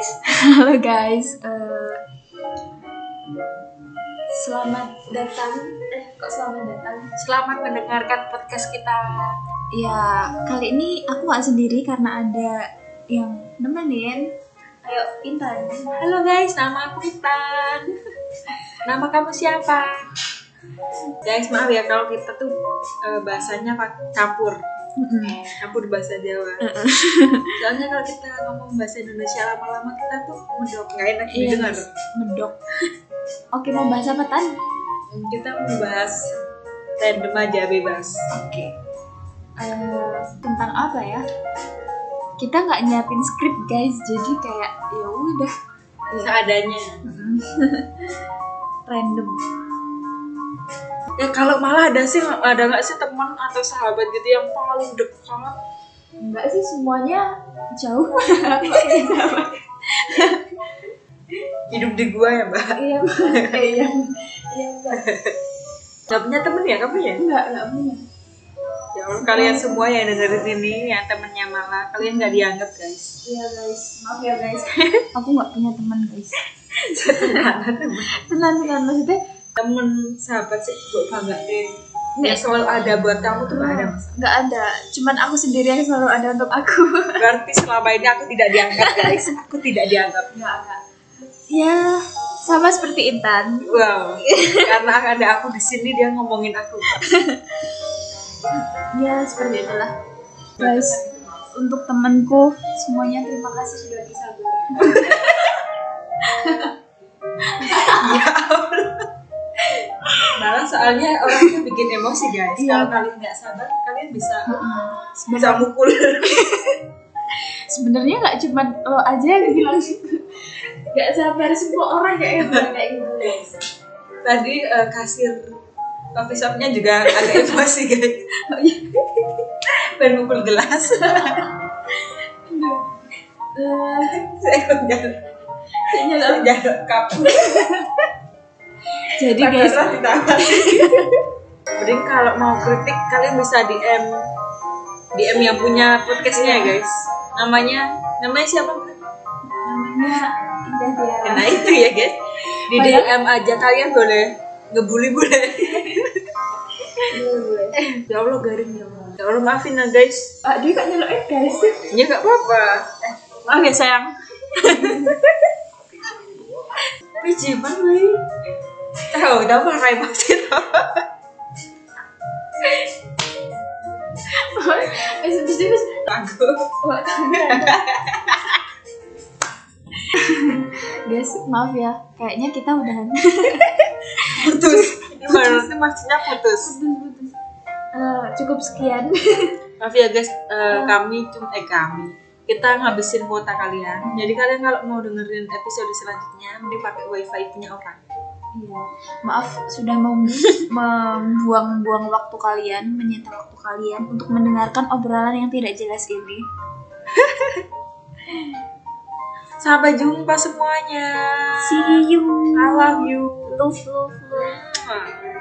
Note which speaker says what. Speaker 1: Halo guys, eh, selamat datang. Eh, kok selamat datang?
Speaker 2: Selamat mendengarkan podcast kita.
Speaker 1: Ya, kali ini aku gak sendiri karena ada yang nemenin. Ayo, Intan.
Speaker 2: Halo guys, nama aku Intan. Nama kamu siapa? Guys, maaf ya kalau kita tuh eh, bahasanya pak- campur.
Speaker 1: Mm-mm.
Speaker 2: Campur bahasa Jawa. Soalnya kalau kita ngomong bahasa Indonesia lama-lama kita tuh mendok nggak enak
Speaker 1: Iya,
Speaker 2: didengar.
Speaker 1: Mas. Mendok. Oke, mau bahas apa Tan?
Speaker 2: Kita membahas random aja bebas.
Speaker 1: Oke. Eh, tentang apa ya? Kita nggak nyiapin skrip guys, jadi kayak ya udah
Speaker 2: Seadanya.
Speaker 1: Mm-mm. random.
Speaker 2: Ya kalau malah ada sih ada nggak sih teman atau sahabat gitu yang paling dekat
Speaker 1: Enggak sih semuanya jauh.
Speaker 2: hidup di gua ya mbak?
Speaker 1: Iya, Mbak. iya, iya, Mbak.
Speaker 2: Gak punya temen ya kamu ya?
Speaker 1: enggak, enggak punya.
Speaker 2: Ya Allah, kalian semua yang dengerin ini, yang temennya malah kalian nggak dianggap guys.
Speaker 1: Iya guys, maaf ya guys. Aku nggak punya teman guys. Tenan tenan maksudnya
Speaker 2: Temen sahabat sih gue bangga deh. Yang selalu ada buat kamu tuh nggak ada mas.
Speaker 1: nggak ada. Cuman aku sendiri yang selalu ada untuk aku.
Speaker 2: Berarti selama ini aku tidak dianggap guys. Aku tidak dianggap.
Speaker 1: Enggak enggak. Ya sama seperti Intan.
Speaker 2: Wow. Karena ada aku di sini dia ngomongin aku.
Speaker 1: Ya seperti itulah. Guys, untuk temanku semuanya terima kasih sudah bersabar.
Speaker 2: Malah soalnya orang tuh bikin emosi guys.
Speaker 1: Iya.
Speaker 2: Kalau kalian nggak sabar, kalian bisa
Speaker 1: Heeh.
Speaker 2: bisa
Speaker 1: Sebenar-
Speaker 2: mukul.
Speaker 1: Sebenarnya nggak cuma lo aja yang bilang nggak sabar semua orang ya yang bilang kayak gitu. guys.
Speaker 2: Tadi eh, kasir coffee shopnya juga agak emosi guys. Dan mukul gelas.
Speaker 1: Eh,
Speaker 2: Saya ikut jalan.
Speaker 1: kayaknya lo-
Speaker 2: Saya jalan kapur.
Speaker 1: Jadi guys,
Speaker 2: Mending kalau mau kritik kalian bisa DM DM yang punya podcastnya ya guys. Namanya namanya siapa?
Speaker 1: namanya Indah Tiara.
Speaker 2: Nah itu ya guys. Di DM
Speaker 1: Padahal-
Speaker 2: aja kalian boleh ngebully boleh.
Speaker 1: Iya, boleh.
Speaker 2: ya Allah garing ya Allah. Ya Allah maafin ya guys.
Speaker 1: Ah, dia kok nyelok eh guys.
Speaker 2: Ya nggak apa-apa. Eh, maaf ya sayang. Pijit banget. Tahu, udah apa remote
Speaker 1: Eh, habis itu
Speaker 2: Aku.
Speaker 1: Oh, Guys, maaf ya. Kayaknya kita udahan.
Speaker 2: putus gimana sih maksudnya putus
Speaker 1: Eh, cukup sekian.
Speaker 2: maaf ya guys
Speaker 1: Oh.
Speaker 2: eh, kami cuma eh kami kita ngabisin kuota kalian jadi kalian kalau mau dengerin episode selanjutnya mending pakai wifi punya orang
Speaker 1: Iya. Maaf sudah mem- membuang-buang waktu kalian, menyita waktu kalian untuk mendengarkan obrolan yang tidak jelas ini.
Speaker 2: sampai jumpa semuanya
Speaker 1: See you.
Speaker 2: I love you
Speaker 1: Love, love, love.
Speaker 2: Mwah.